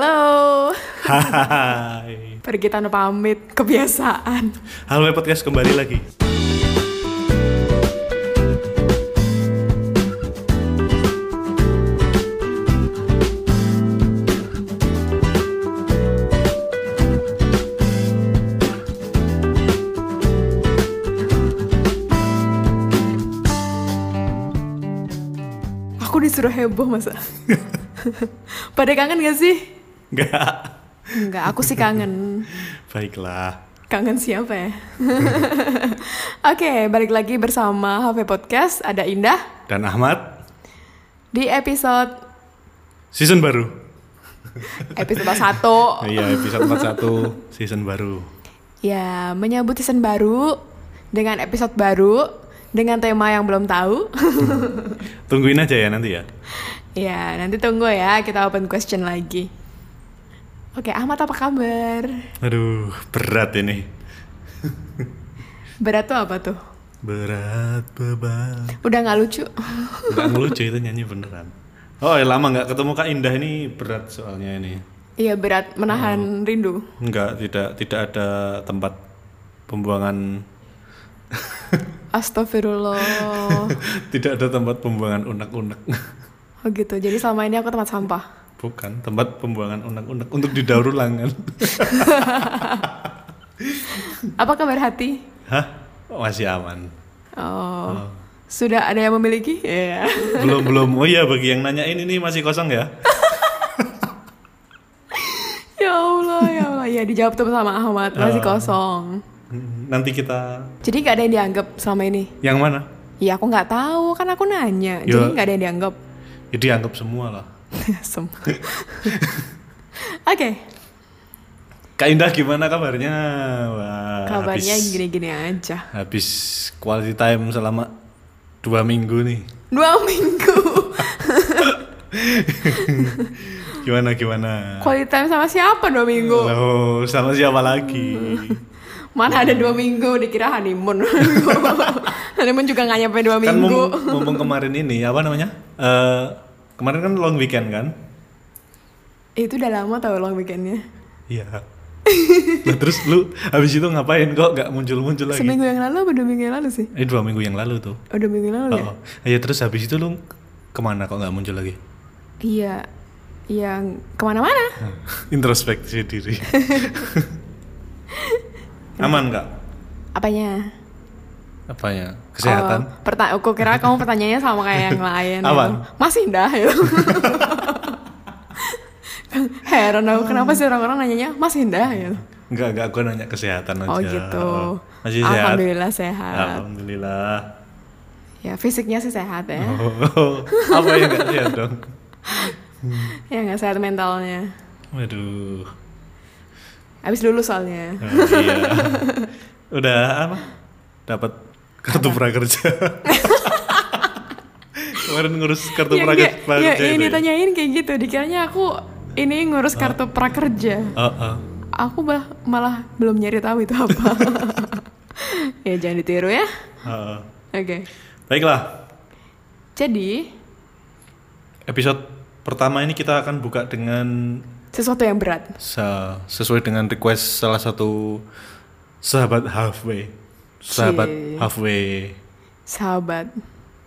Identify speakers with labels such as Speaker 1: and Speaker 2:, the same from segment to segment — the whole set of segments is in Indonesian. Speaker 1: Hello,
Speaker 2: Hai.
Speaker 1: pergi tanpa pamit, kebiasaan.
Speaker 2: Halo My podcast kembali lagi.
Speaker 1: Aku disuruh heboh masa. Pada kangen gak sih?
Speaker 2: Enggak.
Speaker 1: Enggak, aku sih kangen.
Speaker 2: Baiklah.
Speaker 1: Kangen siapa ya? Oke, balik lagi bersama HP Podcast. Ada Indah
Speaker 2: Dan Ahmad,
Speaker 1: di episode
Speaker 2: season baru.
Speaker 1: episode 1.
Speaker 2: Iya, episode 41 season baru.
Speaker 1: Ya, menyambut season baru dengan episode baru dengan tema yang belum tahu.
Speaker 2: Tungguin aja ya nanti ya.
Speaker 1: ya, nanti tunggu ya, kita open question lagi. Oke, Ahmad apa kabar?
Speaker 2: Aduh, berat ini.
Speaker 1: Berat tuh apa tuh?
Speaker 2: Berat beban.
Speaker 1: Udah nggak lucu?
Speaker 2: Enggak ngelucu itu nyanyi beneran. Oh, ya lama nggak ketemu Kak Indah ini berat soalnya ini.
Speaker 1: Iya berat menahan rindu.
Speaker 2: Enggak, tidak tidak ada tempat pembuangan
Speaker 1: Astagfirullah.
Speaker 2: tidak ada tempat pembuangan unek-unek.
Speaker 1: Oh gitu. Jadi selama ini aku tempat sampah.
Speaker 2: Bukan, tempat pembuangan unek-unek untuk didaur ulang kan.
Speaker 1: Apa kabar hati?
Speaker 2: Hah? Masih aman.
Speaker 1: Oh. Sudah ada yang memiliki? Iya.
Speaker 2: Belum belum. Oh iya bagi yang nanyain ini masih kosong ya?
Speaker 1: ya Allah, ya Allah. Ya dijawab tuh sama Ahmad, masih
Speaker 2: Oh.
Speaker 1: kosong.
Speaker 2: Hmm, Nanti kita
Speaker 1: Jadi nggak ada yang dianggap selama ini.
Speaker 2: yang mana?
Speaker 1: Ya aku nggak tahu, kan aku nanya.
Speaker 2: Ya.
Speaker 1: Jadi nggak ada yang dianggap.
Speaker 2: Ya dianggap semua lah.
Speaker 1: Sem. Oke.
Speaker 2: Kak Indah gimana kabarnya? Wah,
Speaker 1: Kabarnya
Speaker 2: Ah, habis,
Speaker 1: gini-gini aja.
Speaker 2: Habis quality time selama dua minggu nih.
Speaker 1: Dua minggu.
Speaker 2: Gimana gimana?
Speaker 1: Quality time sama siapa dua minggu?
Speaker 2: Loh, sama siapa lagi?
Speaker 1: Mana
Speaker 2: Nah.
Speaker 1: ada dua minggu dikira honeymoon. honeymoon juga nggak nyampe dua
Speaker 2: kan
Speaker 1: minggu.
Speaker 2: mumpung, mumpung kemarin ini apa namanya? Eh, kemarin kan long weekend kan?
Speaker 1: Eh, Itu udah lama tau long weekendnya.
Speaker 2: Iya. Nah, terus lu habis itu ngapain kok nggak muncul-muncul lagi?
Speaker 1: Seminggu yang lalu apa dua minggu yang lalu sih?
Speaker 2: Eh dua minggu yang lalu tuh.
Speaker 1: Oh dua minggu yang lalu ya?
Speaker 2: Oh, oh. ya terus habis itu lu kemana kok nggak muncul lagi?
Speaker 1: Iya. Yang kemana-mana.
Speaker 2: Hmm. Introspeksi diri. Aman nggak?
Speaker 1: Apanya?
Speaker 2: Apanya? ya? Kesehatan?
Speaker 1: Oh, perta- aku kira kamu pertanyaannya sama kayak yang lain. gitu.
Speaker 2: Apaan?
Speaker 1: Masih indah ya. Heran aku kenapa sih orang-orang nanyanya masih indah ya.
Speaker 2: Nggak, nggak. Gue nanya kesehatan aja.
Speaker 1: Oh gitu.
Speaker 2: Oh, Masih sehat?
Speaker 1: Alhamdulillah sehat.
Speaker 2: Alhamdulillah.
Speaker 1: Ya fisiknya sih sehat ya.
Speaker 2: Oh, apa yang nggak sehat dong?
Speaker 1: Ya nggak sehat mentalnya.
Speaker 2: Waduh.
Speaker 1: Habis dulu soalnya.
Speaker 2: Oh, iya. Udah apa? Dapat kartu prakerja. Kemarin ngurus kartu
Speaker 1: Ya,
Speaker 2: praker-
Speaker 1: nggak-
Speaker 2: prakerja
Speaker 1: ya,
Speaker 2: itu
Speaker 1: ini
Speaker 2: ya?
Speaker 1: tanyain kayak gitu. Dikiranya aku ini ngurus kartu prakerja.
Speaker 2: Oh, oh.
Speaker 1: Aku malah, malah belum nyari tahu itu apa. ya jangan ditiru ya.
Speaker 2: Oh, oh.
Speaker 1: Oke.
Speaker 2: Baiklah,
Speaker 1: Jadi
Speaker 2: Episode pertama ini kita akan buka dengan
Speaker 1: sesuatu yang berat.
Speaker 2: se- sesuai dengan request salah satu sahabat halfway, sahabat
Speaker 1: Cie.
Speaker 2: halfway
Speaker 1: Sahabat,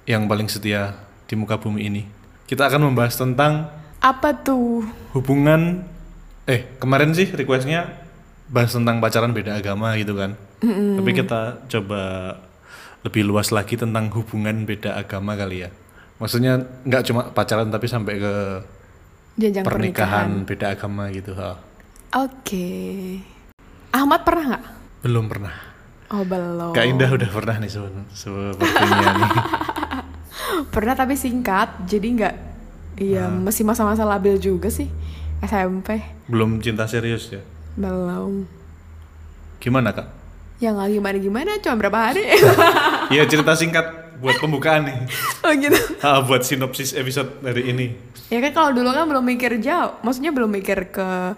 Speaker 2: yang paling setia di muka bumi ini. Kita akan membahas tentang
Speaker 1: apa tuh?
Speaker 2: hubungan eh kemarin sih requestnya bahas tentang pacaran beda agama gitu kan. Tapi kita coba lebih luas lagi tentang hubungan beda agama kali ya. Maksudnya nggak cuma pacaran tapi sampai ke
Speaker 1: Jenjang pernikahan.
Speaker 2: pernikahan, beda agama gitu. ha.
Speaker 1: Oke. Ahmad pernah nggak?
Speaker 2: Belum pernah.
Speaker 1: Oh belum.
Speaker 2: Kak Indah udah pernah nih seben- sepertinya nih.
Speaker 1: Pernah tapi singkat, jadi nggak.
Speaker 2: Ah.
Speaker 1: Iya, masih masa-masa labil juga sih. SMP
Speaker 2: Belum cinta serius ya.
Speaker 1: belum.
Speaker 2: Gimana kak?
Speaker 1: Yang Ya nggak gimana gimana, cuma berapa hari?
Speaker 2: Iya cerita singkat buat pembukaan nih.
Speaker 1: oh gitu.
Speaker 2: Ah, buat sinopsis episode hari ini.
Speaker 1: Ya kan kalau dulu kan belum mikir jauh, maksudnya belum mikir ke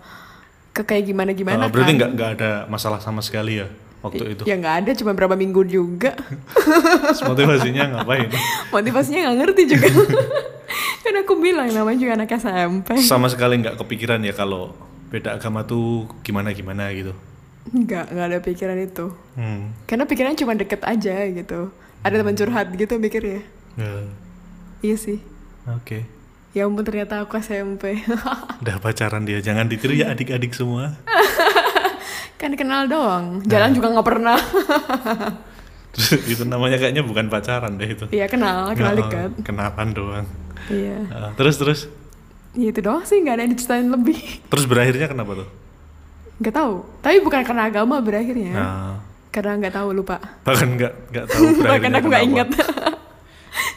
Speaker 1: ke kayak gimana gimana.
Speaker 2: Ah,
Speaker 1: kan.
Speaker 2: berarti nggak nggak ada masalah sama sekali ya waktu itu.
Speaker 1: Ya nggak ada, cuma berapa minggu juga.
Speaker 2: Terus Motivasinya ngapain?
Speaker 1: Motivasinya nggak ngerti juga. kan aku bilang namanya juga anak SMP
Speaker 2: sama sekali nggak kepikiran ya kalau beda agama tuh gimana gimana gitu
Speaker 1: nggak nggak ada pikiran itu
Speaker 2: hmm.
Speaker 1: karena pikirannya cuma deket aja gitu ada teman curhat gitu mikirnya
Speaker 2: Ya,
Speaker 1: iya sih
Speaker 2: oke
Speaker 1: ya ampun ternyata aku SMP
Speaker 2: udah pacaran dia jangan ditiru ya adik-adik semua
Speaker 1: kan kenal doang jalan
Speaker 2: Nah.
Speaker 1: juga nggak pernah
Speaker 2: Terus itu namanya kayaknya bukan pacaran deh itu
Speaker 1: iya kenal kenal
Speaker 2: Oh,
Speaker 1: dekat
Speaker 2: kenalan doang
Speaker 1: iya
Speaker 2: Ah, terus terus
Speaker 1: ya itu doang sih nggak ada yang diceritain lebih
Speaker 2: terus berakhirnya kenapa tuh
Speaker 1: nggak tahu tapi bukan karena agama berakhirnya
Speaker 2: nah
Speaker 1: karena nggak tahu lupa
Speaker 2: bahkan nggak nggak tahu berakhirnya
Speaker 1: bahkan aku nggak
Speaker 2: kenapa.
Speaker 1: inget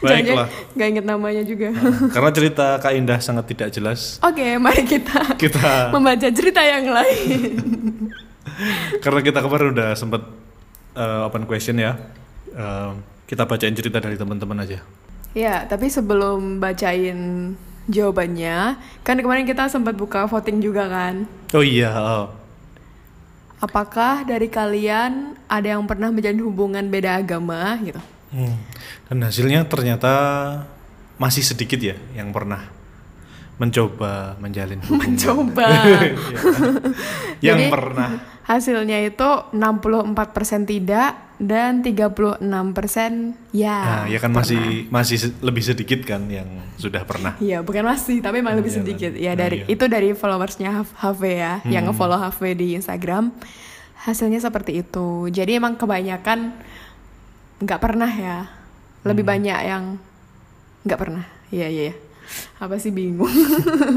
Speaker 2: baiklah
Speaker 1: Jangan-jangan nggak inget namanya juga
Speaker 2: Nah. karena cerita kak Indah sangat tidak jelas
Speaker 1: oke mari kita
Speaker 2: kita
Speaker 1: membaca cerita yang lain
Speaker 2: karena kita kemarin udah sempet eh, open question ya Eh, kita bacain cerita dari teman-teman aja
Speaker 1: ya tapi sebelum bacain jawabannya kan kemarin kita sempat buka voting juga kan
Speaker 2: oh iya oh.
Speaker 1: apakah dari kalian ada yang pernah menjalin hubungan beda agama gitu
Speaker 2: Hmm. dan hasilnya ternyata masih sedikit ya yang pernah mencoba menjalin hubungan
Speaker 1: mencoba
Speaker 2: yang
Speaker 1: Jadi-
Speaker 2: pernah
Speaker 1: hasilnya itu 64% tidak dan 36%
Speaker 2: nah,
Speaker 1: ya
Speaker 2: ya kan masih masih se- lebih sedikit kan yang sudah pernah
Speaker 1: Iya, bukan masih, tapi emang lebih
Speaker 2: Iya,
Speaker 1: sedikit.
Speaker 2: kan?
Speaker 1: Ya dari
Speaker 2: Iya. Hmm.
Speaker 1: itu dari followersnya H- HV ya, yang nge-follow HV di Instagram. Hasilnya seperti itu. Jadi emang kebanyakan nggak pernah ya. Lebih
Speaker 2: Hmm.
Speaker 1: banyak yang nggak pernah. Iya, iya. iya. Apa sih bingung.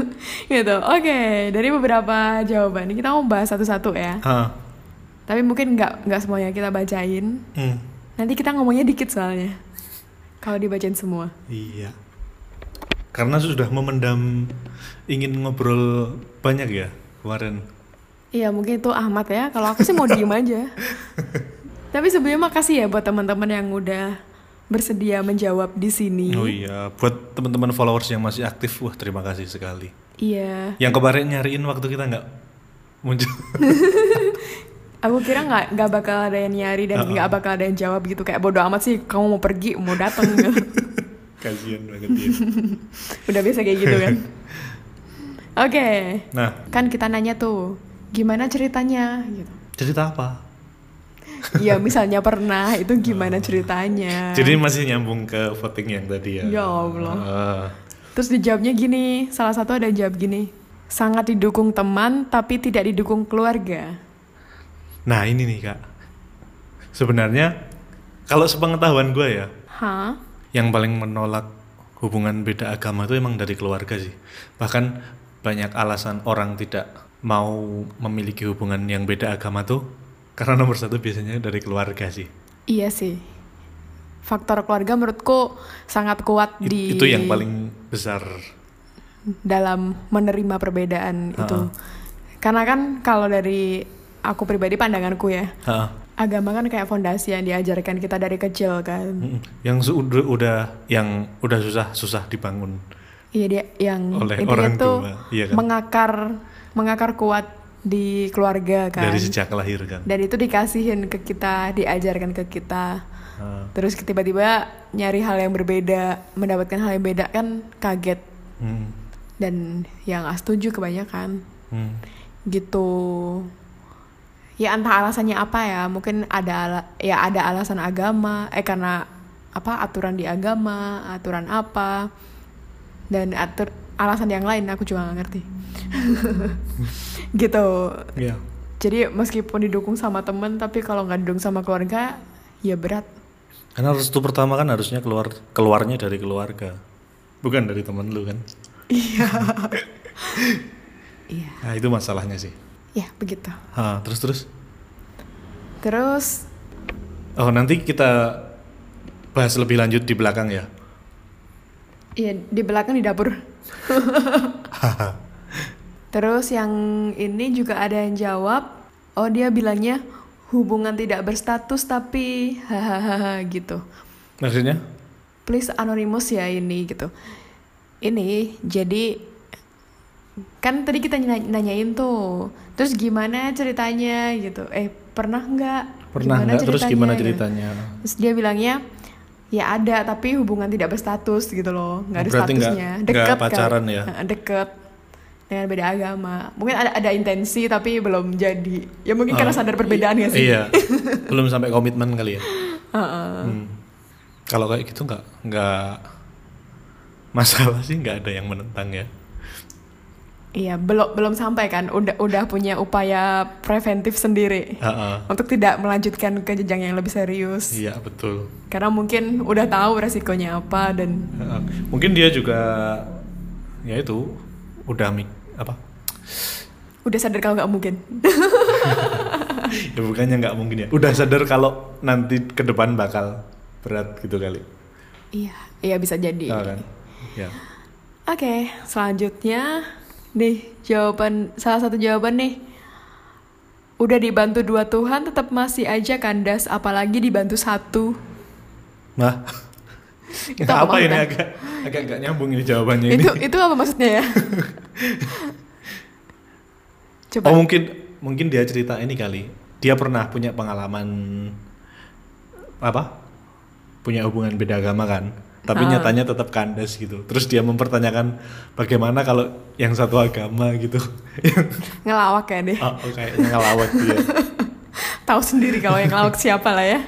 Speaker 1: gitu. Oke, dari beberapa jawaban ini kita mau bahas satu-satu ya.
Speaker 2: Ah.
Speaker 1: Tapi mungkin nggak nggak semuanya kita bacain.
Speaker 2: Hmm.
Speaker 1: Nanti kita ngomongnya dikit soalnya. Kalau dibacain semua.
Speaker 2: Iya. Karena sudah memendam ingin ngobrol banyak ya kemarin.
Speaker 1: Iya mungkin itu Ahmad ya. Kalau aku sih mau diem aja. Tapi sebelumnya makasih ya buat teman-teman yang udah bersedia menjawab di sini.
Speaker 2: Oh iya, buat teman-teman followers yang masih aktif, wah terima kasih sekali.
Speaker 1: Iya.
Speaker 2: Yang kemarin nyariin waktu kita nggak muncul.
Speaker 1: Aku kira nggak nggak bakal ada yang nyari dan nggak bakal ada yang jawab gitu kayak bodoh amat sih. Kamu mau pergi mau datang
Speaker 2: Kasihan banget dia.
Speaker 1: udah biasa kayak gitu kan. Oke.
Speaker 2: Nah,
Speaker 1: Kan kita nanya tuh gimana ceritanya gitu.
Speaker 2: cerita apa?
Speaker 1: Iya misalnya pernah itu gimana ceritanya.
Speaker 2: Oh. Jadi masih nyambung ke voting yang tadi ya.
Speaker 1: Nah. Ya Allah.
Speaker 2: Ah.
Speaker 1: Terus dijawabnya gini, salah satu ada yang jawab gini, sangat didukung teman tapi tidak didukung keluarga.
Speaker 2: Nah ini nih kak, sebenarnya kalau sepengetahuan gue ya,
Speaker 1: Hah?
Speaker 2: yang paling menolak hubungan beda agama itu emang dari keluarga sih. Bahkan banyak alasan orang tidak mau memiliki hubungan yang beda agama tuh karena nomor satu biasanya dari keluarga sih.
Speaker 1: Iya sih. Faktor keluarga menurutku sangat kuat
Speaker 2: I-
Speaker 1: di
Speaker 2: Itu yang paling besar.
Speaker 1: dalam menerima perbedaan itu.
Speaker 2: Ha-ha.
Speaker 1: Karena kan kalau dari aku pribadi pandanganku ya,
Speaker 2: Ha,
Speaker 1: agama kan kayak fondasi yang diajarkan kita dari kecil kan.
Speaker 2: mm-mm. Yang su- udah, udah yang udah susah susah dibangun.
Speaker 1: Iya dia yang
Speaker 2: Oleh
Speaker 1: intinya
Speaker 2: orang
Speaker 1: tuh
Speaker 2: tua, iya kan?
Speaker 1: mengakar mengakar kuat di keluarga kan.
Speaker 2: Dari sejak lahir kan.
Speaker 1: dan itu dikasihin ke kita diajarkan ke kita
Speaker 2: Ha,
Speaker 1: terus tiba-tiba nyari hal yang berbeda mendapatkan hal yang beda kan kaget
Speaker 2: mm,
Speaker 1: dan yang nggak setuju kebanyakan
Speaker 2: mm.
Speaker 1: gitu ya entah alasannya apa ya mungkin ada ala- ya ada alasan agama eh karena apa aturan di agama aturan apa dan atur alasan yang lain aku juga nggak ngerti gitu
Speaker 2: Iya.
Speaker 1: jadi meskipun didukung sama temen, tapi kalau nggak didukung sama keluarga, ya berat.
Speaker 2: Karena restu pertama kan harusnya keluar keluarnya dari keluarga, bukan dari temen lu kan.
Speaker 1: Iya.
Speaker 2: Nah itu masalahnya sih.
Speaker 1: Ya begitu.
Speaker 2: Ha, terus terus.
Speaker 1: Terus,
Speaker 2: Oh nanti kita bahas lebih lanjut di belakang ya.
Speaker 1: ya di belakang di dapur. Terus yang ini juga ada yang jawab, oh dia bilangnya hubungan tidak berstatus tapi hahaha gitu.
Speaker 2: Maksudnya?
Speaker 1: Please anonimus ya ini gitu. Ini jadi kan tadi kita nanya- nanyain tuh, terus gimana ceritanya gitu. Eh pernah nggak?
Speaker 2: Pernah nggak? Terus gimana
Speaker 1: gitu.
Speaker 2: ceritanya?
Speaker 1: Terus dia bilangnya, ya ada tapi hubungan tidak berstatus gitu loh nggak ada
Speaker 2: Berarti nggak-
Speaker 1: statusnya
Speaker 2: nggak
Speaker 1: deket
Speaker 2: pacaran
Speaker 1: kali.
Speaker 2: ya?
Speaker 1: Heeh, deket dengan beda agama mungkin ada ada intensi tapi belum jadi ya mungkin karena
Speaker 2: Ah,
Speaker 1: sadar perbedaan ya sih
Speaker 2: Iya. Belum sampai komitmen kali ya. Hmm. Kalau kayak gitu nggak nggak masalah sih nggak ada yang menentang ya.
Speaker 1: Iya, belum belum sampai kan udah udah punya upaya preventif sendiri
Speaker 2: Heeh.
Speaker 1: untuk tidak melanjutkan ke jenjang yang lebih serius
Speaker 2: Iya betul.
Speaker 1: karena mungkin udah tahu resikonya apa dan
Speaker 2: Heeh. Mungkin dia juga ya itu udah mik apa?
Speaker 1: udah sadar kalau nggak mungkin
Speaker 2: Ya bukannya nggak mungkin ya. Udah sadar kalau nanti ke depan bakal berat gitu kali.
Speaker 1: iya iya bisa jadi
Speaker 2: Ah, kan? Ya.
Speaker 1: Oke, selanjutnya nih jawaban salah satu jawaban nih. Udah dibantu dua Tuhan tetap masih aja kandas apalagi dibantu satu.
Speaker 2: Nah.
Speaker 1: Itu apa
Speaker 2: apa ini
Speaker 1: maksudnya?
Speaker 2: agak agak nggak nyambung ini jawabannya ini.
Speaker 1: kan? Itu itu apa maksudnya ya? Coba.
Speaker 2: Oh mungkin mungkin dia cerita ini kali. Dia pernah punya pengalaman apa? Punya hubungan beda agama kan. Tapi
Speaker 1: Ah.
Speaker 2: nyatanya tetap kandas gitu. Terus dia mempertanyakan bagaimana kalau yang satu agama gitu.
Speaker 1: Ngelawak ya deh.
Speaker 2: oh, oh, kayaknya ngelawak dia.
Speaker 1: Tahu sendiri kalau yang ngelawak siapa lah ya.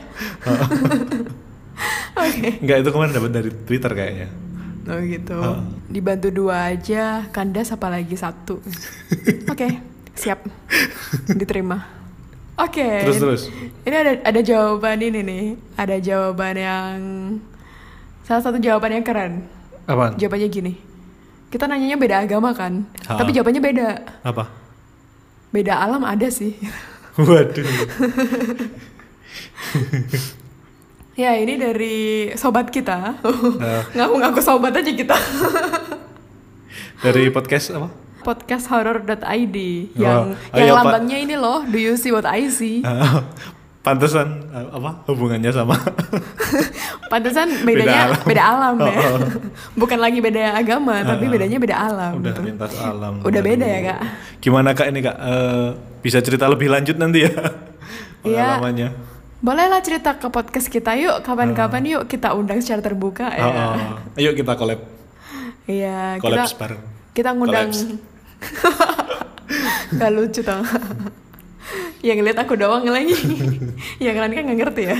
Speaker 1: Oke.
Speaker 2: Enggak itu kemarin dapat dari Twitter kayaknya.
Speaker 1: Oh gitu.
Speaker 2: Ah.
Speaker 1: Dibantu dua aja kandas apalagi satu. Oke, siap. Diterima. Oke.
Speaker 2: Terus terus.
Speaker 1: Ini ada ada jawaban ini nih. Ada jawaban yang salah satu jawaban yang keren.
Speaker 2: Apaan?
Speaker 1: Jawabannya gini. Kita nanyanya beda agama kan,
Speaker 2: Ha.
Speaker 1: tapi jawabannya beda.
Speaker 2: Apa?
Speaker 1: Beda alam ada sih.
Speaker 2: Waduh.
Speaker 1: ya ini dari sobat kita.
Speaker 2: Eh,
Speaker 1: Ngaku-ngaku sobat aja kita.
Speaker 2: dari podcast apa?
Speaker 1: Podcasthorror.id
Speaker 2: Oh,
Speaker 1: yang
Speaker 2: oh
Speaker 1: yang
Speaker 2: iya, Pak.
Speaker 1: lambangnya ini loh. Do you see what I see?
Speaker 2: Eh, pantesan eh, apa hubungannya sama
Speaker 1: Pantesan bedanya
Speaker 2: alam.
Speaker 1: beda alam, ya.
Speaker 2: Oh, oh.
Speaker 1: Bukan lagi beda agama, tapi
Speaker 2: Ah, ah.
Speaker 1: bedanya beda alam.
Speaker 2: Udah
Speaker 1: gitu.
Speaker 2: lintas alam.
Speaker 1: Udah
Speaker 2: Aduh.
Speaker 1: beda ya, Kak?
Speaker 2: Gimana kak ini kak? Eh, bisa cerita lebih lanjut nanti ya
Speaker 1: Iya.
Speaker 2: pengalamannya.
Speaker 1: Bolehlah cerita ke podcast kita yuk, kapan-kapan yuk kita undang secara terbuka ya.
Speaker 2: Oh, oh. Ayo kita collab,
Speaker 1: Iya, kita
Speaker 2: collab bareng.
Speaker 1: kita ngundang.
Speaker 2: Collabs.
Speaker 1: Gak lucu tau. Yang lihat aku doang lagi. Yang kalian kan nggak ngerti ya.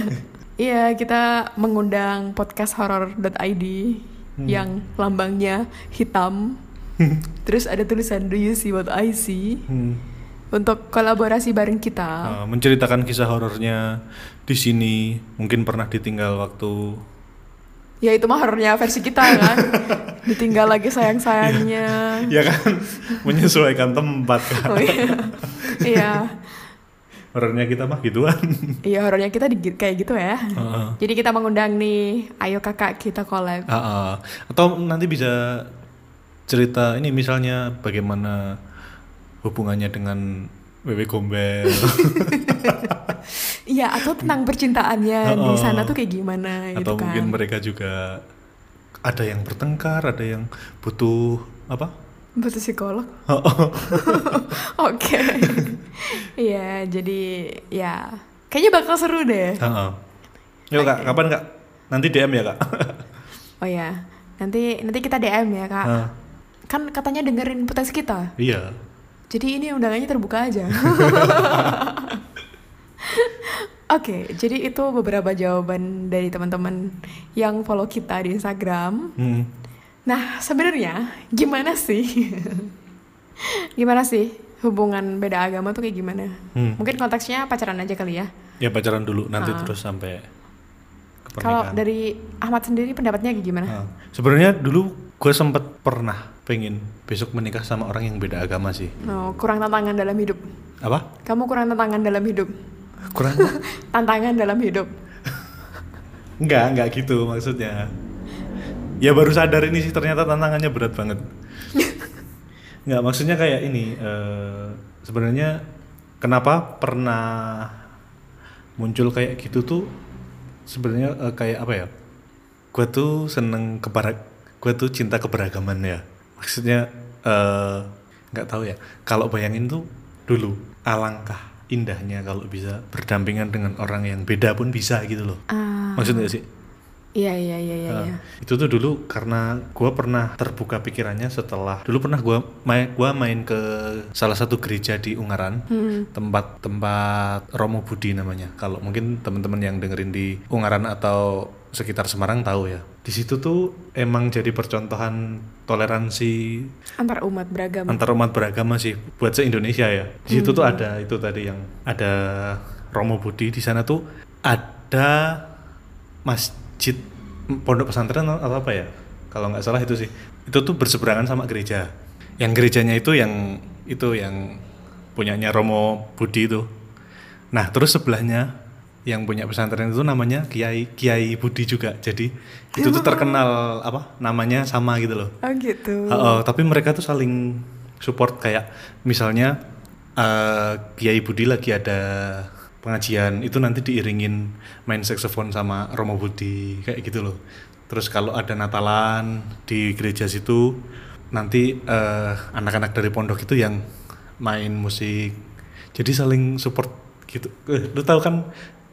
Speaker 1: Iya, kita mengundang podcasthorror.id yang lambangnya hitam. Terus ada tulisan Do you see what I see?
Speaker 2: Hmm.
Speaker 1: Untuk kolaborasi bareng kita.
Speaker 2: Eh, menceritakan kisah horornya di sini, mungkin pernah ditinggal waktu.
Speaker 1: Ya itu mah horornya versi kita kan. Ditinggal lagi sayang-sayangnya.
Speaker 2: Ya kan, menyesuaikan tempat kan.
Speaker 1: Oh iya. iya.
Speaker 2: Horornya kita mah gituan.
Speaker 1: Iya horornya kita di, kayak gitu ya.
Speaker 2: Heeh.
Speaker 1: Jadi kita mengundang nih, ayo kakak kita collab.
Speaker 2: Heeh. Atau nanti bisa cerita ini misalnya bagaimana hubungannya dengan Wewe Gombel.
Speaker 1: Iya, atau tentang percintaannya di
Speaker 2: Heeh.
Speaker 1: sana tuh kayak gimana gitu
Speaker 2: atau
Speaker 1: kan.
Speaker 2: mungkin mereka juga ada yang bertengkar ada yang butuh apa
Speaker 1: Butuh psikolog. Oke. Iya, jadi ya kayaknya bakal seru deh.
Speaker 2: Heeh. yuk kak kapan kak nanti dm ya kak
Speaker 1: Oh ya, nanti nanti kita DM ya, Kak.
Speaker 2: Heeh.
Speaker 1: Kan katanya dengerin potensi kita.
Speaker 2: iya
Speaker 1: Jadi ini undangannya terbuka aja. Oke, jadi itu beberapa jawaban dari teman-teman yang follow kita di Instagram.
Speaker 2: Hmm.
Speaker 1: Nah, sebenarnya gimana sih? gimana sih hubungan beda agama tuh kayak gimana?
Speaker 2: Hmm.
Speaker 1: Mungkin konteksnya pacaran aja kali ya.
Speaker 2: ya pacaran dulu nanti
Speaker 1: Heeh.
Speaker 2: terus sampai ke
Speaker 1: Kalau
Speaker 2: pernikahan
Speaker 1: dari Ahmad sendiri pendapatnya kayak gimana?
Speaker 2: Heeh. sebenarnya dulu gue sempet pernah pengen besok menikah sama orang yang beda agama sih
Speaker 1: Oh, kurang tantangan dalam hidup.
Speaker 2: apa
Speaker 1: Kamu kurang tantangan dalam hidup.
Speaker 2: kurang
Speaker 1: Tantangan dalam hidup.
Speaker 2: enggak enggak gitu maksudnya ya baru sadar ini sih ternyata tantangannya berat banget Nggak, maksudnya kayak ini eh, sebenarnya kenapa pernah muncul kayak gitu tuh sebenarnya eh, kayak apa ya? Gue tuh seneng kebarak, gue tuh cinta keberagaman ya. Maksudnya eh, nggak tahu ya. Kalau bayangin tuh dulu alangkah indahnya kalau bisa berdampingan dengan orang yang beda pun bisa gitu loh.
Speaker 1: Ah,
Speaker 2: Maksudnya sih?
Speaker 1: Iya iya iya iya.
Speaker 2: Nah,
Speaker 1: iya.
Speaker 2: itu tuh dulu karena gua pernah terbuka pikirannya setelah dulu pernah gua main gua main ke salah satu gereja di Ungaran tempat tempat Romo Budi namanya kalau mungkin teman-teman yang dengerin di Ungaran atau sekitar Semarang tahu ya di situ tuh emang jadi percontohan toleransi
Speaker 1: Antar umat beragama.
Speaker 2: antar umat beragama sih buat se Indonesia ya di situ tuh ada itu tadi yang ada Romo Budi di sana tuh ada masjid pondok pesantren atau apa ya kalau nggak salah itu sih itu tuh berseberangan sama gereja yang gerejanya itu yang itu yang punyanya Romo Budi itu nah terus sebelahnya yang punya pesantren itu namanya Kiai Kiai Budi juga jadi itu tuh terkenal apa namanya sama gitu loh
Speaker 1: Oh gitu.
Speaker 2: Heeh, tapi mereka tuh saling support kayak misalnya eh, Kiai Budi lagi ada pengajian itu nanti diiringin main saksofon sama Romo Budi kayak gitu loh. Terus kalau ada Natalan di gereja situ nanti eh, anak-anak dari pondok itu yang main musik. Jadi saling support gitu. Eh, lu tahu kan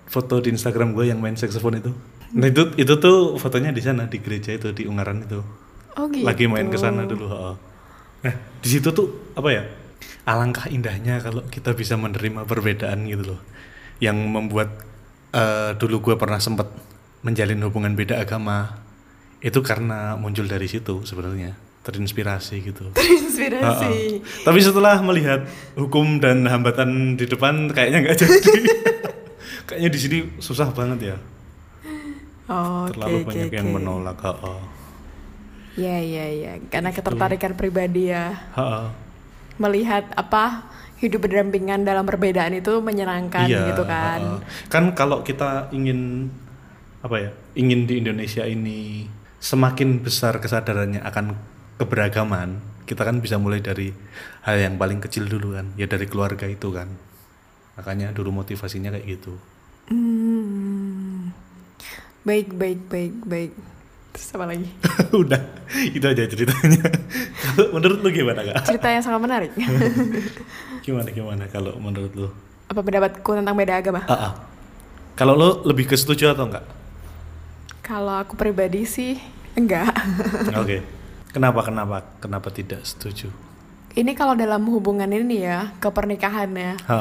Speaker 2: foto di Instagram gue yang main saksofon itu? Nah itu itu tuh fotonya di sana di gereja itu di Ungaran itu
Speaker 1: Oh gitu.
Speaker 2: lagi main ke sana dulu. heeh. Nah, di situ tuh apa ya? Alangkah indahnya kalau kita bisa menerima perbedaan gitu loh. Yang membuat eh, dulu gue pernah sempat menjalin hubungan beda agama. Itu karena muncul dari situ sebenarnya, terinspirasi gitu.
Speaker 1: Terinspirasi.
Speaker 2: Heeh. Tapi setelah melihat hukum dan hambatan di depan kayaknya nggak jadi. kayaknya di sini susah banget ya.
Speaker 1: Oh, oke,
Speaker 2: Terlalu
Speaker 1: oke,
Speaker 2: banyak yang
Speaker 1: oke.
Speaker 2: menolak. Gitu. heeh.
Speaker 1: Iya iya iya. Karena ketertarikan pribadi ya.
Speaker 2: Heeh.
Speaker 1: Melihat apa hidup berdampingan dalam perbedaan itu menyenangkan
Speaker 2: Iya,
Speaker 1: gitu
Speaker 2: heeh.
Speaker 1: kan.
Speaker 2: Kan kalau kita ingin apa ya? Ingin di Indonesia ini semakin besar kesadarannya akan keberagaman, kita kan bisa mulai dari hal yang paling kecil dulu kan, ya dari keluarga itu kan. Makanya dulu motivasinya kayak gitu.
Speaker 1: Hmm. Baik baik baik baik. Terus apa lagi?
Speaker 2: Udah, itu aja ceritanya. Kalau menurut lu gimana, Kak?
Speaker 1: Cerita yang sangat menarik.
Speaker 2: Gimana gimana kalau menurut lu?
Speaker 1: apa pendapatku tentang beda agama?
Speaker 2: Ah, ah. Kalau lu lebih ke setuju atau enggak?
Speaker 1: Kalau aku pribadi sih enggak.
Speaker 2: Oke. Kenapa kenapa kenapa tidak setuju?
Speaker 1: Ini kalau dalam hubungan ini ya, kepernikahannya.
Speaker 2: Ha.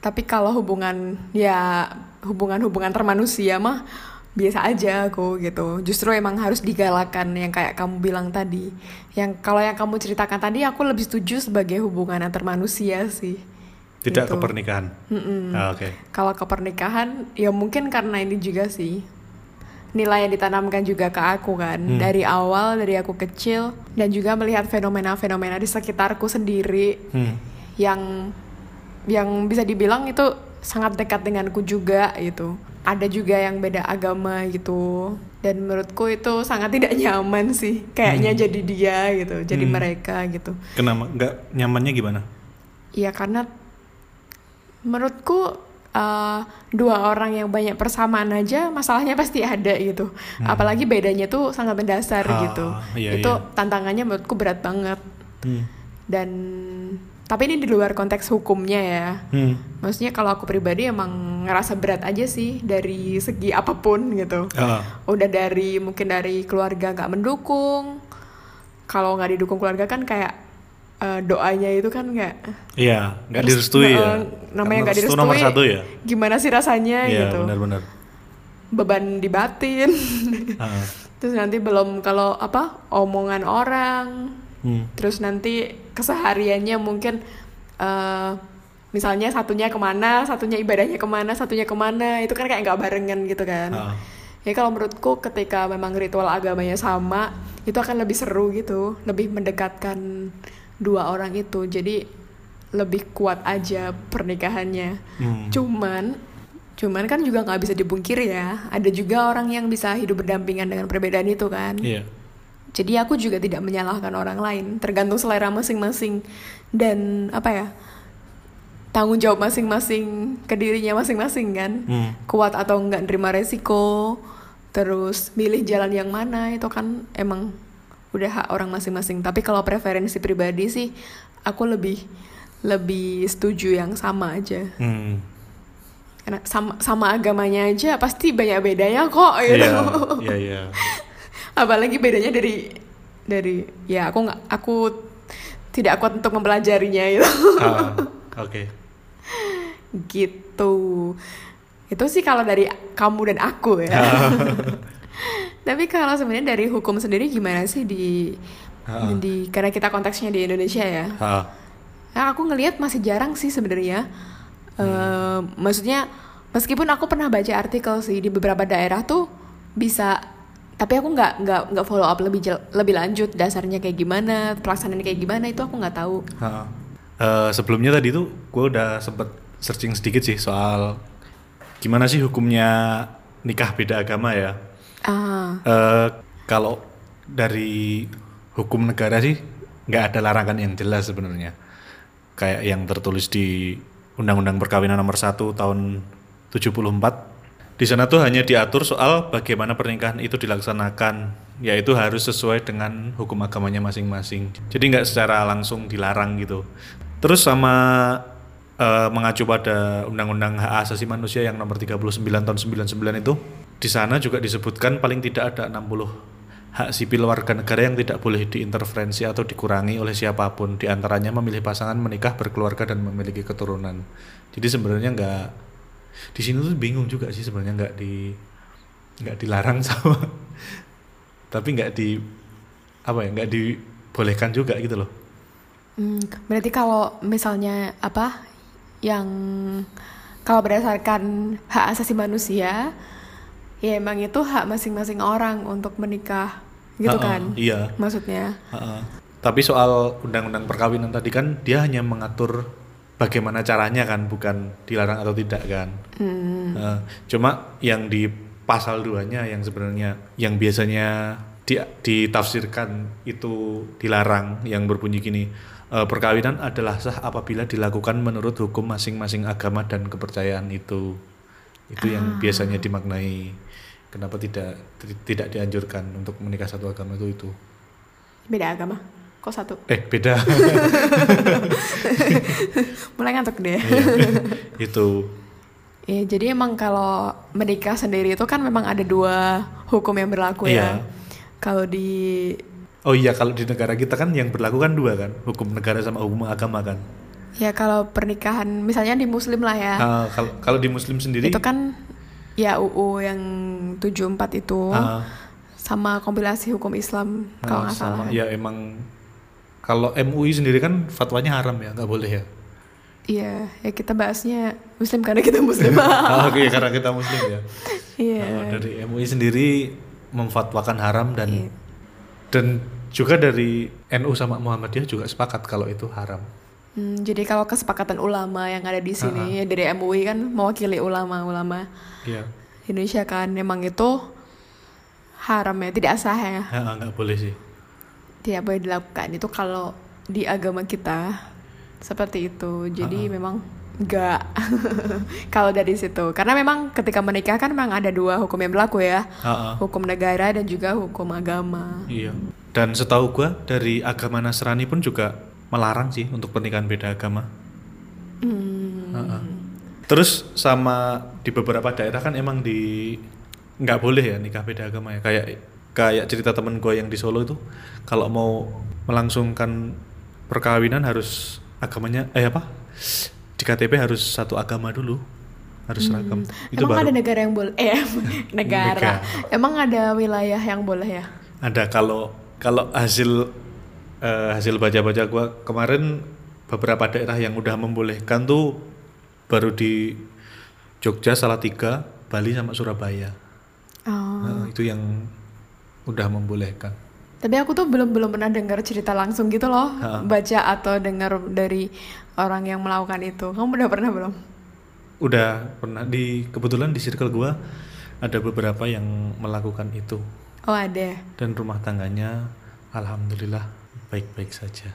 Speaker 1: Tapi kalau hubungan ya hubungan-hubungan termanusia mah biasa aja aku gitu. Justru emang harus digalakan yang kayak kamu bilang tadi. Yang kalau yang kamu ceritakan tadi aku lebih setuju sebagai hubungan antar manusia sih.
Speaker 2: tidak
Speaker 1: Gitu.
Speaker 2: ke pernikahan. Ah, Oke.
Speaker 1: Kalau ke pernikahan ya mungkin karena ini juga sih nilai yang ditanamkan juga ke aku kan
Speaker 2: Hmm.
Speaker 1: dari awal dari aku kecil dan juga melihat fenomena-fenomena di sekitarku sendiri
Speaker 2: Hmm.
Speaker 1: yang yang bisa dibilang itu sangat dekat denganku juga gitu. Ada juga yang beda agama gitu. Dan menurutku itu sangat tidak nyaman sih. Kayaknya
Speaker 2: Hmm.
Speaker 1: jadi dia gitu, jadi mereka gitu.
Speaker 2: Kenapa nggak nyamannya gimana?
Speaker 1: Ya karena menurutku eh, dua orang yang banyak persamaan aja masalahnya pasti ada gitu. Apalagi bedanya tuh sangat mendasar
Speaker 2: Hmm. Ah,
Speaker 1: gitu.
Speaker 2: iya,
Speaker 1: itu
Speaker 2: iya.
Speaker 1: tantangannya menurutku berat banget.
Speaker 2: Hmm.
Speaker 1: Dan tapi ini di luar konteks hukumnya ya.
Speaker 2: Hmm.
Speaker 1: Maksudnya kalau aku pribadi emang ngerasa berat aja sih dari segi apapun gitu.
Speaker 2: Ah,
Speaker 1: Udah dari mungkin dari keluarga nggak mendukung. Kalau nggak didukung keluarga kan kayak eh, doanya itu kan nggak
Speaker 2: Iya, nggak
Speaker 1: Terus,
Speaker 2: direstui
Speaker 1: eh,
Speaker 2: ya.
Speaker 1: Namanya
Speaker 2: Karena
Speaker 1: nggak
Speaker 2: restu
Speaker 1: direstui.
Speaker 2: nomor satu ya.
Speaker 1: Gimana sih rasanya
Speaker 2: Iya,
Speaker 1: gitu?
Speaker 2: benar-benar.
Speaker 1: Beban di batin.
Speaker 2: Ah,
Speaker 1: Terus nanti belum kalau apa omongan orang.
Speaker 2: hmm.
Speaker 1: Terus nanti kesehariannya mungkin eh misalnya satunya kemana, satunya ibadahnya kemana, satunya kemana, itu kan kayak nggak barengan gitu kan.
Speaker 2: Ah.
Speaker 1: Ya kalau menurutku ketika memang ritual agamanya sama, itu akan lebih seru gitu, lebih mendekatkan dua orang itu. Jadi lebih kuat aja pernikahannya.
Speaker 2: Hmm.
Speaker 1: Cuman, cuman kan juga nggak bisa dipungkiri ya. Ada juga orang yang bisa hidup berdampingan dengan perbedaan itu kan.
Speaker 2: Iya.
Speaker 1: Jadi aku juga tidak menyalahkan orang lain, tergantung selera masing-masing dan apa ya tanggung jawab masing-masing ke dirinya masing-masing kan,
Speaker 2: Hmm.
Speaker 1: kuat atau enggak nerima resiko, terus milih jalan yang mana itu kan emang udah hak orang masing-masing. Tapi kalau preferensi pribadi sih aku lebih lebih setuju yang sama aja
Speaker 2: Hmm.
Speaker 1: Karena sama sama agamanya aja pasti banyak bedanya kok gitu.
Speaker 2: Iya, iya, iya.
Speaker 1: Apalagi bedanya dari dari ya aku nggak aku tidak kuat untuk mempelajarinya gitu.
Speaker 2: Ah, Oke.
Speaker 1: gitu. Itu sih kalau dari kamu dan aku ya. Tapi kalau sebenarnya dari hukum sendiri gimana sih di
Speaker 2: Ha-ha.
Speaker 1: di karena kita konteksnya di Indonesia ya.
Speaker 2: Ah,
Speaker 1: Nah, aku ngelihat masih jarang sih sebenarnya. Eh, maksudnya meskipun aku pernah baca artikel sih di beberapa daerah tuh bisa tapi aku nggak nggak nggak follow up lebih jel- lebih lanjut dasarnya kayak gimana pelaksanaannya kayak gimana itu aku nggak tahu
Speaker 2: ah. Eh, sebelumnya tadi tuh gue udah sempet searching sedikit sih soal gimana sih hukumnya nikah beda agama ya.
Speaker 1: ah
Speaker 2: Eh, kalau dari hukum negara sih nggak ada larangan yang jelas sebenarnya. Kayak yang tertulis di Undang-Undang Perkawinan Nomor 1 tahun 74. Di sana tuh hanya diatur soal bagaimana pernikahan itu dilaksanakan, yaitu harus sesuai dengan hukum agamanya masing-masing. Jadi nggak secara langsung dilarang gitu. Terus sama eh, mengacu pada Undang-Undang Hak Asasi Manusia yang nomor 39 tahun 99 itu, di sana juga disebutkan paling tidak ada 60 hak sipil warga negara yang tidak boleh diinterferensi atau dikurangi oleh siapapun di antaranya memilih pasangan menikah berkeluarga dan memiliki keturunan jadi sebenarnya nggak di sini tuh bingung juga sih sebenarnya nggak di nggak dilarang sama tapi nggak di apa ya nggak dibolehkan juga gitu loh
Speaker 1: Hmm, berarti kalau misalnya apa yang kalau berdasarkan hak asasi manusia ya emang itu hak masing-masing orang untuk menikah gitu
Speaker 2: Ha-ha,
Speaker 1: kan
Speaker 2: iya
Speaker 1: maksudnya
Speaker 2: Ha-ha. tapi soal undang-undang perkawinan tadi kan dia hanya mengatur bagaimana caranya kan bukan dilarang atau tidak kan
Speaker 1: Hmm.
Speaker 2: Nah, cuma yang di pasal 2-nya yang sebenarnya yang biasanya di- ditafsirkan itu dilarang yang berbunyi gini e, perkawinan adalah sah apabila dilakukan menurut hukum masing-masing agama dan kepercayaan itu itu yang biasanya dimaknai kenapa tidak ti- tidak dianjurkan untuk menikah satu agama itu itu
Speaker 1: beda agama kok satu
Speaker 2: eh beda
Speaker 1: mulai ngantuk deh
Speaker 2: Iya. itu
Speaker 1: ya jadi emang kalau menikah sendiri itu kan memang ada dua hukum yang berlaku
Speaker 2: Iya.
Speaker 1: ya kalau di
Speaker 2: oh iya kalau di negara kita kan yang berlaku kan dua kan hukum negara sama hukum agama kan
Speaker 1: ya kalau pernikahan misalnya di muslim lah ya
Speaker 2: Ah, kalau kalau di muslim sendiri
Speaker 1: itu kan ya UU yang 74 itu
Speaker 2: Ah,
Speaker 1: sama kompilasi hukum Islam kalau
Speaker 2: ah,
Speaker 1: nggak
Speaker 2: sama.
Speaker 1: salah.
Speaker 2: Ya emang kalau MUI sendiri kan fatwanya haram ya, nggak boleh ya.
Speaker 1: Iya, ya kita bahasnya Muslim karena kita Muslim.
Speaker 2: Ah, oke, karena kita muslim ya. Ah,
Speaker 1: Iya.
Speaker 2: dari MUI sendiri memfatwakan haram
Speaker 1: Iya.
Speaker 2: dan dan juga dari NU sama Muhammadiyah juga sepakat kalau itu haram.
Speaker 1: Hmm, jadi kalau kesepakatan ulama yang ada di
Speaker 2: Ah,
Speaker 1: sini ya dari MUI kan mewakili ulama-ulama
Speaker 2: Iya.
Speaker 1: Indonesia kan memang itu haram ya, tidak sah ya.
Speaker 2: Ah, ah, nggak boleh sih.
Speaker 1: Tidak boleh dilakukan itu kalau di agama kita seperti itu. Jadi memang enggak kalau dari situ. Karena memang ketika menikah kan memang ada dua hukum yang berlaku ya.
Speaker 2: Ah, ah.
Speaker 1: Hukum negara dan juga hukum agama.
Speaker 2: Iya. Dan setahu gua dari agama Nasrani pun juga melarang sih untuk pernikahan beda agama.
Speaker 1: Hmm.
Speaker 2: Heeh. Terus sama di beberapa daerah kan emang di nggak boleh ya nikah beda agama ya. Kayak kayak cerita temen gua yang di Solo itu kalau mau melangsungkan perkawinan harus agamanya eh apa? Di KTP harus satu agama dulu. Harus seragam. Itu
Speaker 1: Hmm. emang
Speaker 2: baru
Speaker 1: ada negara yang boleh eh negara. Emang ada wilayah yang boleh ya?
Speaker 2: ada kalau kalau hasil eh, hasil baca-baca gua kemarin beberapa daerah yang udah membolehkan tuh baru di Jogja, Salatiga, Bali sama Surabaya.
Speaker 1: Oh.
Speaker 2: Nah, itu yang udah membolehkan.
Speaker 1: Tapi aku tuh belum belum pernah dengar cerita langsung gitu loh,
Speaker 2: Ha.
Speaker 1: baca atau dengar dari orang yang melakukan itu. Kamu udah pernah belum?
Speaker 2: Udah pernah di kebetulan di circle gua ada beberapa yang melakukan itu
Speaker 1: Oh ada.
Speaker 2: dan rumah tangganya alhamdulillah baik-baik saja.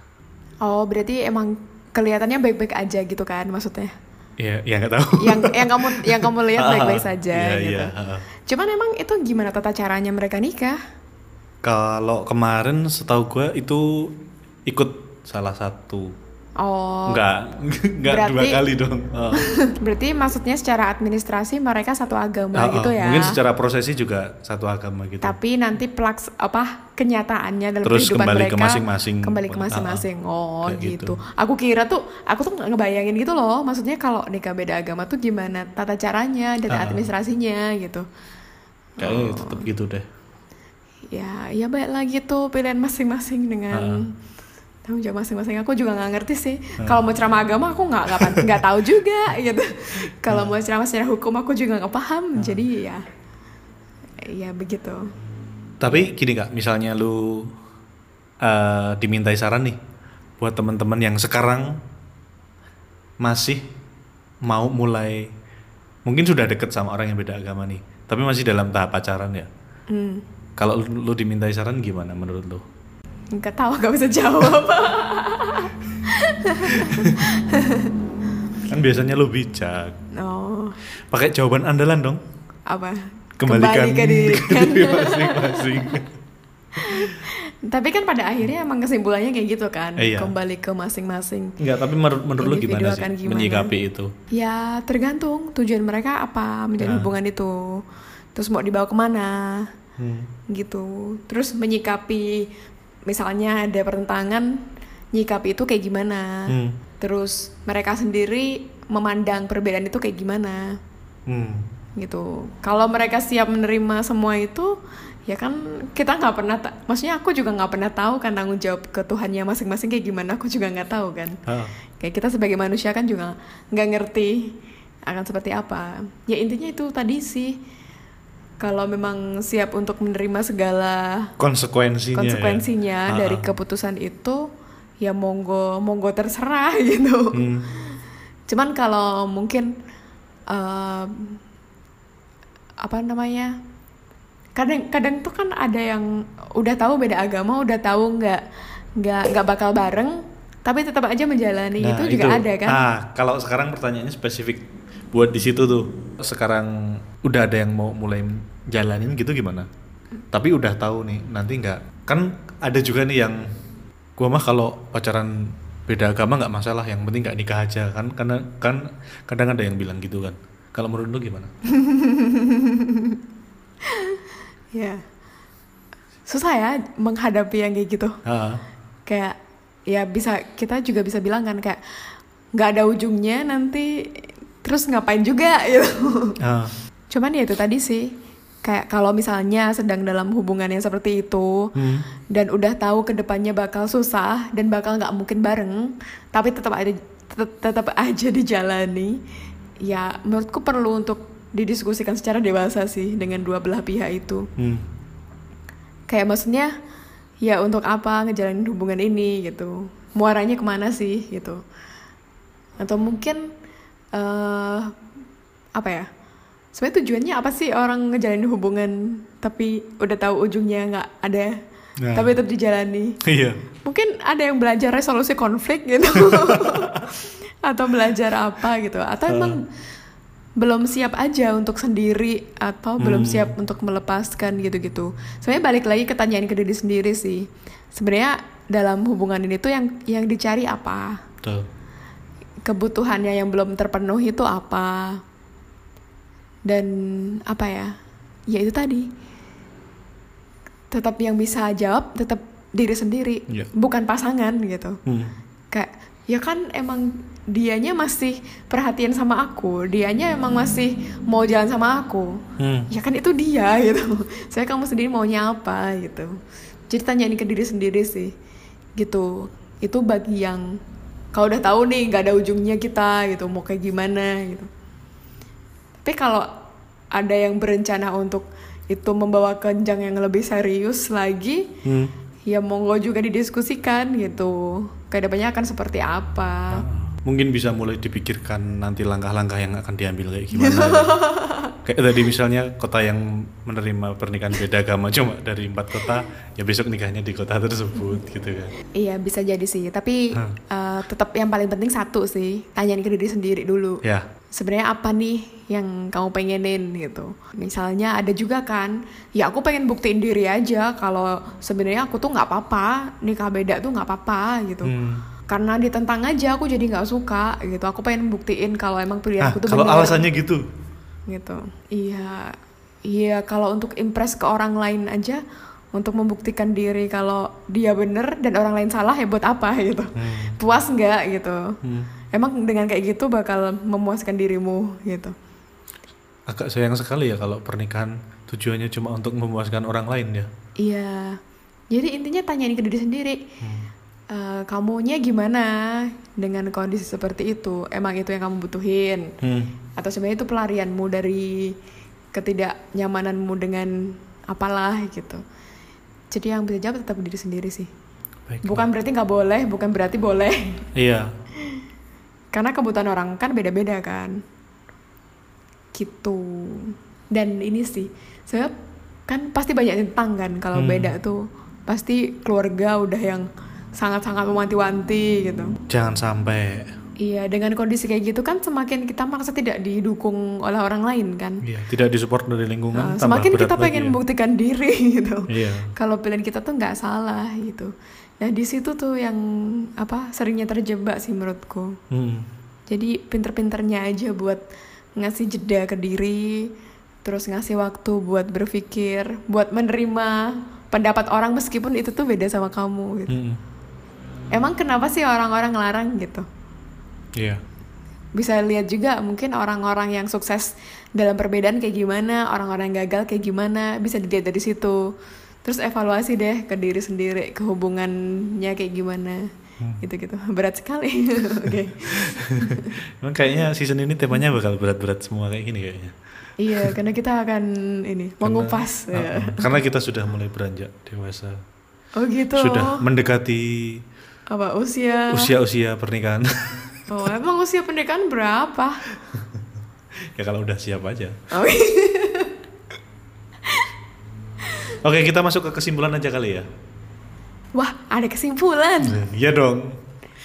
Speaker 1: Oh berarti emang kelihatannya baik-baik aja gitu kan maksudnya?
Speaker 2: Ya, ya nggak tahu.
Speaker 1: Yang yang kamu yang kamu lihat Ya, baik-baik saja
Speaker 2: Iya,
Speaker 1: gitu.
Speaker 2: iya, ha, ha.
Speaker 1: Cuman emang itu gimana tata caranya mereka nikah?
Speaker 2: Kalau kemarin setahu gue itu ikut salah satu
Speaker 1: Oh.
Speaker 2: Enggak, enggak dua
Speaker 1: Berarti-
Speaker 2: kali dong. Oh.
Speaker 1: Berarti maksudnya secara administrasi mereka satu agama
Speaker 2: Oh, oh.
Speaker 1: gitu ya.
Speaker 2: Mungkin secara prosesi juga satu agama gitu.
Speaker 1: Tapi nanti plaks apa kenyataannya dalam
Speaker 2: Terus
Speaker 1: kehidupan
Speaker 2: kembali ke
Speaker 1: mereka
Speaker 2: masing-masing.
Speaker 1: kembali ke
Speaker 2: Ah, ah.
Speaker 1: masing-masing. Oh,
Speaker 2: Kayak gitu.
Speaker 1: gitu. Aku kira tuh aku tuh nggak ngebayangin gitu loh. Maksudnya kalau nikah beda agama tuh gimana tata caranya dan
Speaker 2: Ah.
Speaker 1: administrasinya gitu.
Speaker 2: Kayaknya tetap gitu deh.
Speaker 1: Ya, ya baik lagi tuh pilihan masing-masing
Speaker 2: Ah,
Speaker 1: dengan tanggung jawab masing-masing. Aku juga nggak ngerti sih. Kalau mau ceramah agama aku nggak nggak pan- nggak tahu juga gitu.
Speaker 2: Ah.
Speaker 1: Kalau mau ceramah secara hukum aku juga nggak paham. Jadi ya, ya begitu.
Speaker 2: Tapi gini kak, misalnya lu eh, dimintai saran nih buat teman-teman yang sekarang masih mau mulai mungkin sudah deket sama orang yang beda agama nih, tapi masih dalam tahap pacaran ya.
Speaker 1: Hmm.
Speaker 2: Kalau lu, lu dimintai saran gimana menurut lu?
Speaker 1: Nggak tahu, nggak bisa jawab.
Speaker 2: Kan biasanya lu bijak.
Speaker 1: Oh,
Speaker 2: Pakai jawaban andalan dong.
Speaker 1: apa?
Speaker 2: Kembalikan
Speaker 1: Kembali ke diri.
Speaker 2: ke diri masing-masing.
Speaker 1: Tapi kan pada akhirnya emang kesimpulannya kayak gitu kan.
Speaker 2: Eh, iya.
Speaker 1: Kembali ke masing-masing.
Speaker 2: Enggak, tapi menurut menurut lu
Speaker 1: Individu
Speaker 2: gimana sih
Speaker 1: akan gimana?
Speaker 2: menyikapi itu?
Speaker 1: Ya tergantung tujuan mereka apa
Speaker 2: Nah.
Speaker 1: menjalin hubungan itu. Terus mau dibawa kemana
Speaker 2: Hmm.
Speaker 1: gitu. Terus menyikapi misalnya ada pertentangan, nyikapi itu kayak gimana.
Speaker 2: Hmm.
Speaker 1: Terus mereka sendiri memandang perbedaan itu kayak gimana.
Speaker 2: Hmm.
Speaker 1: gitu. Kalau mereka siap menerima semua itu, ya kan kita nggak pernah, ta- maksudnya aku juga nggak pernah tahu kan tanggung jawab ke Tuhannya masing-masing kayak gimana, aku juga nggak tahu kan.
Speaker 2: Ah.
Speaker 1: Kayak kita sebagai manusia kan juga nggak ngerti akan seperti apa. Ya intinya itu tadi sih, kalau memang siap untuk menerima segala
Speaker 2: Konsekuensinya. ya?
Speaker 1: konsekuensinya
Speaker 2: Ah,
Speaker 1: dari
Speaker 2: ah.
Speaker 1: keputusan itu, ya monggo monggo terserah gitu.
Speaker 2: Hmm.
Speaker 1: Cuman kalau mungkin um, apa namanya? Kadang-kadang tuh kan ada yang udah tahu beda agama, udah tahu nggak nggak nggak bakal bareng, tapi tetap aja menjalani
Speaker 2: Nah,
Speaker 1: itu juga ada kan?
Speaker 2: Ah, kalau sekarang pertanyaannya spesifik buat di situ tuh. Sekarang udah ada yang mau mulai jalanin gitu gimana? Tapi udah tahu nih, nanti nggak. Kan ada juga nih yang gua mah kalau pacaran beda agama nggak masalah, yang penting nggak nikah aja kan karena kan kadang ada yang bilang gitu kan. Kalau menurut lu gimana?
Speaker 1: Ya. Susah ya menghadapi yang kayak gitu.
Speaker 2: Ah,
Speaker 1: Kayak ya bisa kita juga bisa bilang kan kayak nggak ada ujungnya nanti terus ngapain juga gitu.
Speaker 2: ah,
Speaker 1: Cuman ya itu tadi sih, kayak kalau misalnya sedang dalam hubungan yang seperti itu
Speaker 2: hmm,
Speaker 1: dan udah tahu kedepannya bakal susah dan bakal nggak mungkin bareng, tapi tetap ada tet- tetap aja dijalani. Ya menurutku perlu untuk didiskusikan secara dewasa sih dengan dua belah pihak itu.
Speaker 2: hmm.
Speaker 1: Kayak maksudnya ya untuk apa ngejalanin hubungan ini gitu, muaranya kemana sih gitu? Atau mungkin eh apa ya sebenarnya tujuannya apa sih orang ngejalanin hubungan tapi udah tahu ujungnya nggak ada
Speaker 2: Nah.
Speaker 1: tapi tetap dijalani
Speaker 2: Iya.
Speaker 1: mungkin ada yang belajar resolusi konflik gitu atau belajar apa gitu atau emang belum siap aja untuk sendiri atau belum siap untuk melepaskan gitu-gitu sebenarnya balik lagi ke tanyaan ke diri sendiri sih sebenarnya dalam hubungan ini tuh yang yang dicari apa
Speaker 2: Tuh.
Speaker 1: kebutuhannya yang belum terpenuhi itu apa dan apa ya ya itu tadi tetap yang bisa jawab tetap diri sendiri
Speaker 2: Iya.
Speaker 1: bukan pasangan gitu
Speaker 2: Hmm.
Speaker 1: kayak ya kan emang dianya masih perhatian sama aku dianya emang masih mau jalan sama aku
Speaker 2: Hmm.
Speaker 1: ya kan itu dia gitu saya kamu sendiri maunya apa gitu jadi tanyain ke diri sendiri sih gitu itu bagi yang kalau udah tahu nih nggak ada ujungnya kita gitu mau kayak gimana gitu tapi kalau ada yang berencana untuk itu membawa kenjang yang lebih serius lagi
Speaker 2: Hmm.
Speaker 1: ya monggo juga didiskusikan gitu kedepannya akan seperti apa
Speaker 2: mungkin bisa mulai dipikirkan nanti langkah-langkah yang akan diambil kayak gimana ya. kayak tadi misalnya kota yang menerima pernikahan beda agama cuma dari empat kota ya besok nikahnya di kota tersebut gitu kan
Speaker 1: Iya bisa jadi sih, tapi
Speaker 2: Hmm.
Speaker 1: eh, tetap yang paling penting satu sih, tanyain ke diri sendiri dulu.
Speaker 2: ya
Speaker 1: Sebenarnya apa nih yang kamu pengenin gitu? Misalnya ada juga kan, ya aku pengen buktiin diri aja kalau sebenarnya aku tuh nggak apa-apa, nikah beda tuh nggak apa-apa gitu.
Speaker 2: Hmm.
Speaker 1: karena ditentang aja aku jadi nggak suka gitu aku pengen buktiin kalau emang
Speaker 2: Ah,
Speaker 1: pilihanku Iya, tuh
Speaker 2: kalau
Speaker 1: bener.
Speaker 2: alasannya gitu.
Speaker 1: gitu iya iya kalau untuk impress ke orang lain aja untuk membuktikan diri kalau dia bener dan orang lain salah ya buat apa gitu puas nggak gitu emang dengan kayak gitu bakal memuaskan dirimu gitu
Speaker 2: Agak sayang sekali ya kalau pernikahan tujuannya cuma untuk memuaskan orang lain ya.
Speaker 1: Iya. Jadi intinya tanyain ke diri sendiri. Eh, kamunya gimana dengan kondisi seperti itu? Emang itu yang kamu butuhin?
Speaker 2: Hmm.
Speaker 1: Atau sebenarnya itu pelarianmu dari ketidaknyamananmu dengan apalah gitu. Jadi yang bisa jawab tetap diri sendiri sih.
Speaker 2: Baik.
Speaker 1: Bukan berarti nggak boleh, bukan berarti boleh.
Speaker 2: Iya.
Speaker 1: Karena kebutuhan orang kan beda-beda kan. Gitu. Dan ini sih, sebab kan pasti banyak tentang kan kalau beda tuh. Pasti keluarga udah yang sangat-sangat mewanti-wanti gitu.
Speaker 2: Jangan sampai.
Speaker 1: Iya, dengan kondisi kayak gitu kan semakin kita merasa tidak didukung oleh orang lain kan.
Speaker 2: Iya, tidak disupport dari lingkungan
Speaker 1: Nah,
Speaker 2: tambah
Speaker 1: semakin
Speaker 2: berat
Speaker 1: kita
Speaker 2: lagi
Speaker 1: pengen
Speaker 2: ya.
Speaker 1: membuktikan diri gitu.
Speaker 2: Iya.
Speaker 1: Kalau pilihan kita tuh nggak salah gitu. Nah di situ tuh yang apa seringnya terjebak sih menurutku.
Speaker 2: Hmm.
Speaker 1: Jadi pinter-pinternya aja buat ngasih jeda ke diri, terus ngasih waktu buat berpikir, buat menerima pendapat orang meskipun itu tuh beda sama kamu gitu.
Speaker 2: Hmm.
Speaker 1: Emang kenapa sih orang-orang larang gitu?
Speaker 2: Iya.
Speaker 1: Bisa lihat juga mungkin orang-orang yang sukses dalam perbedaan kayak gimana, orang-orang yang gagal kayak gimana, bisa dilihat dari situ. Terus evaluasi deh ke diri sendiri, ke hubungannya kayak gimana.
Speaker 2: Hmm.
Speaker 1: Gitu-gitu. Berat sekali. Oke.
Speaker 2: Emang kayaknya season ini temanya bakal berat-berat semua kayak gini kayaknya.
Speaker 1: Iya, karena kita akan ini mengupas.
Speaker 2: Karena,
Speaker 1: ya.
Speaker 2: Uh-uh. Karena kita sudah mulai beranjak dewasa.
Speaker 1: Oh gitu.
Speaker 2: Sudah mendekati
Speaker 1: Apa usia?
Speaker 2: usia-usia pernikahan.
Speaker 1: Oh, emang usia pernikahan berapa?
Speaker 2: ya kalau udah siap aja.
Speaker 1: Oh,
Speaker 2: Oke, kita masuk ke kesimpulan aja kali ya.
Speaker 1: Wah, ada kesimpulan.
Speaker 2: Iya dong.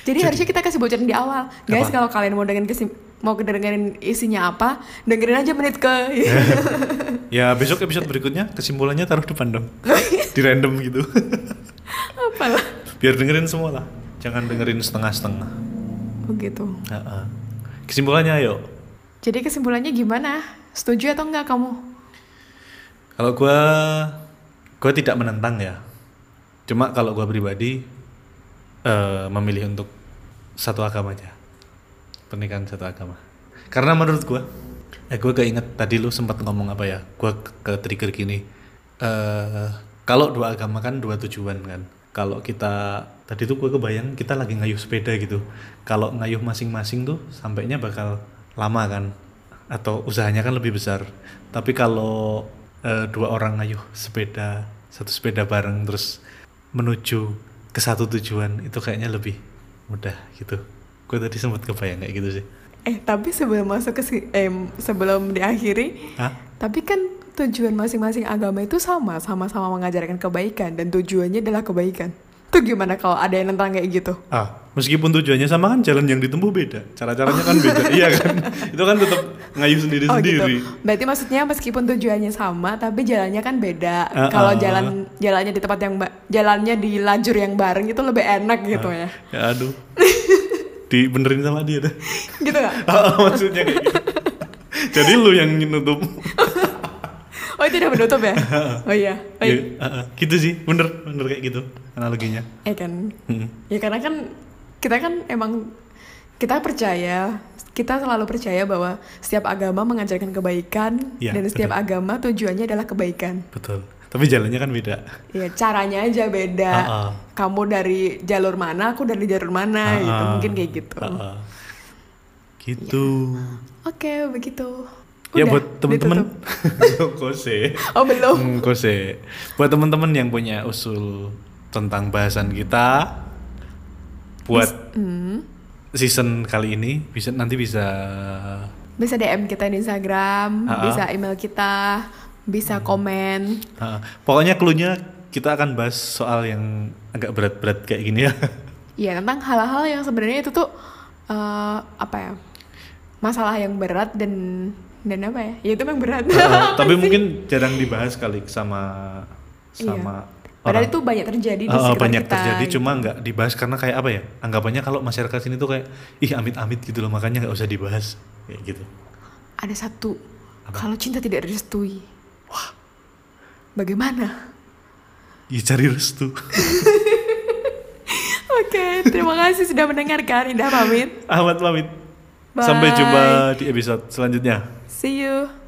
Speaker 1: Jadi, harusnya kita kasih bocoran di awal. Guys,
Speaker 2: Apa?
Speaker 1: kalau kalian mau dengerin kesim mau dengerin isinya apa, dengerin aja menit ke.
Speaker 2: Ya, besok episode berikutnya kesimpulannya taruh depan dong. di random gitu.
Speaker 1: Apalah.
Speaker 2: Biar dengerin semua lah. Jangan dengerin setengah-setengah.
Speaker 1: Begitu.
Speaker 2: Uh-uh. Kesimpulannya ayo.
Speaker 1: gitu. Jadi kesimpulannya gimana? Setuju atau enggak kamu?
Speaker 2: Kalau gua gua tidak menentang ya. Cuma kalau gua pribadi eh, memilih untuk satu agama aja. Pernikahan satu agama. Karena menurut gua eh gua keinget tadi lu sempat ngomong apa ya? Gua ke trigger gini. Eh kalau dua agama kan dua tujuan kan. Kalau kita tadi tuh gua kebayang kita lagi ngayuh sepeda gitu. Kalau ngayuh masing-masing tuh sampainya bakal lama kan atau usahanya kan lebih besar. Tapi kalau eh, dua orang ngayuh sepeda, satu sepeda bareng terus menuju ke satu tujuan itu kayaknya lebih mudah gitu. Gue tadi sempat kebayang kayak gitu sih.
Speaker 1: Eh, tapi sebelum masuk ke si- eh, sebelum diakhiri,
Speaker 2: Hah?
Speaker 1: Tapi kan tujuan masing-masing agama itu sama, sama-sama mengajarkan kebaikan dan tujuannya adalah kebaikan. Tuh gimana kalau ada yang nentang kayak gitu?
Speaker 2: Ah, meskipun tujuannya sama kan jalan yang ditempuh beda, cara-caranya kan beda. iya kan? Itu kan tetap ngayuh
Speaker 1: Oh gitu.
Speaker 2: sendiri-sendiri.
Speaker 1: Berarti maksudnya meskipun tujuannya sama, tapi jalannya kan beda.
Speaker 2: Ah,
Speaker 1: Kalau
Speaker 2: ah.
Speaker 1: jalan jalannya di tempat yang ba- jalannya di lajur yang bareng itu lebih enak gitu ya.
Speaker 2: Ya aduh. Dibenerin sama dia dah.
Speaker 1: Gitu gak?
Speaker 2: Ah, maksudnya kayak gitu. Jadi lu yang nutup.
Speaker 1: Oh itu udah menutup ya? Oh iya. Oh, iya.
Speaker 2: Ya, ah, ah. gitu sih, bener, bener kayak gitu analoginya.
Speaker 1: Eh kan
Speaker 2: Hmm.
Speaker 1: Ya karena kan kita kan emang kita percaya, kita selalu percaya bahwa setiap agama mengajarkan kebaikan
Speaker 2: Iya,
Speaker 1: dan setiap
Speaker 2: betul.
Speaker 1: agama tujuannya adalah kebaikan.
Speaker 2: Betul. Tapi jalannya kan beda.
Speaker 1: Ya caranya aja beda.
Speaker 2: Ah, ah.
Speaker 1: Kamu dari jalur mana, aku dari jalur mana
Speaker 2: Ah,
Speaker 1: gitu.
Speaker 2: ah.
Speaker 1: Mungkin kayak gitu.
Speaker 2: Heeh. Gitu.
Speaker 1: Oke, begitu.
Speaker 2: Ya
Speaker 1: Udah,
Speaker 2: buat temen-temen
Speaker 1: ditutup.
Speaker 2: kose.
Speaker 1: Oh, belum.
Speaker 2: Hmm, kose. Buat temen-temen yang punya usul tentang bahasan kita buat
Speaker 1: Hmm.
Speaker 2: season kali ini bisa nanti bisa
Speaker 1: Bisa DM kita di Instagram,
Speaker 2: Ah, ah.
Speaker 1: bisa email kita,
Speaker 2: Hmm.
Speaker 1: bisa komen.
Speaker 2: Heeh. ah, pokoknya cluenya kita akan bahas soal yang agak berat-berat kayak gini ya.
Speaker 1: Iya tentang hal-hal yang sebenarnya itu tuh eh, apa ya masalah yang berat dan dan apa ya? Ya itu memang berat.
Speaker 2: Heeh,
Speaker 1: Apa
Speaker 2: tapi
Speaker 1: sih?
Speaker 2: mungkin jarang dibahas kali sama sama
Speaker 1: Iya. Padahal itu
Speaker 2: Orang-
Speaker 1: banyak terjadi di
Speaker 2: Uh,
Speaker 1: sekitar
Speaker 2: banyak
Speaker 1: kita.
Speaker 2: terjadi
Speaker 1: gitu.
Speaker 2: cuma nggak dibahas karena kayak apa ya anggapannya kalau masyarakat sini tuh kayak ih amit-amit gitu loh makanya nggak usah dibahas kayak gitu
Speaker 1: Ada satu. Kalau cinta tidak direstui. Wah. Bagaimana?
Speaker 2: ya cari restu
Speaker 1: Oke, terima kasih sudah mendengarkan. Indah pamit.
Speaker 2: Ahmad pamit
Speaker 1: Bye.
Speaker 2: sampai jumpa di episode selanjutnya
Speaker 1: See you.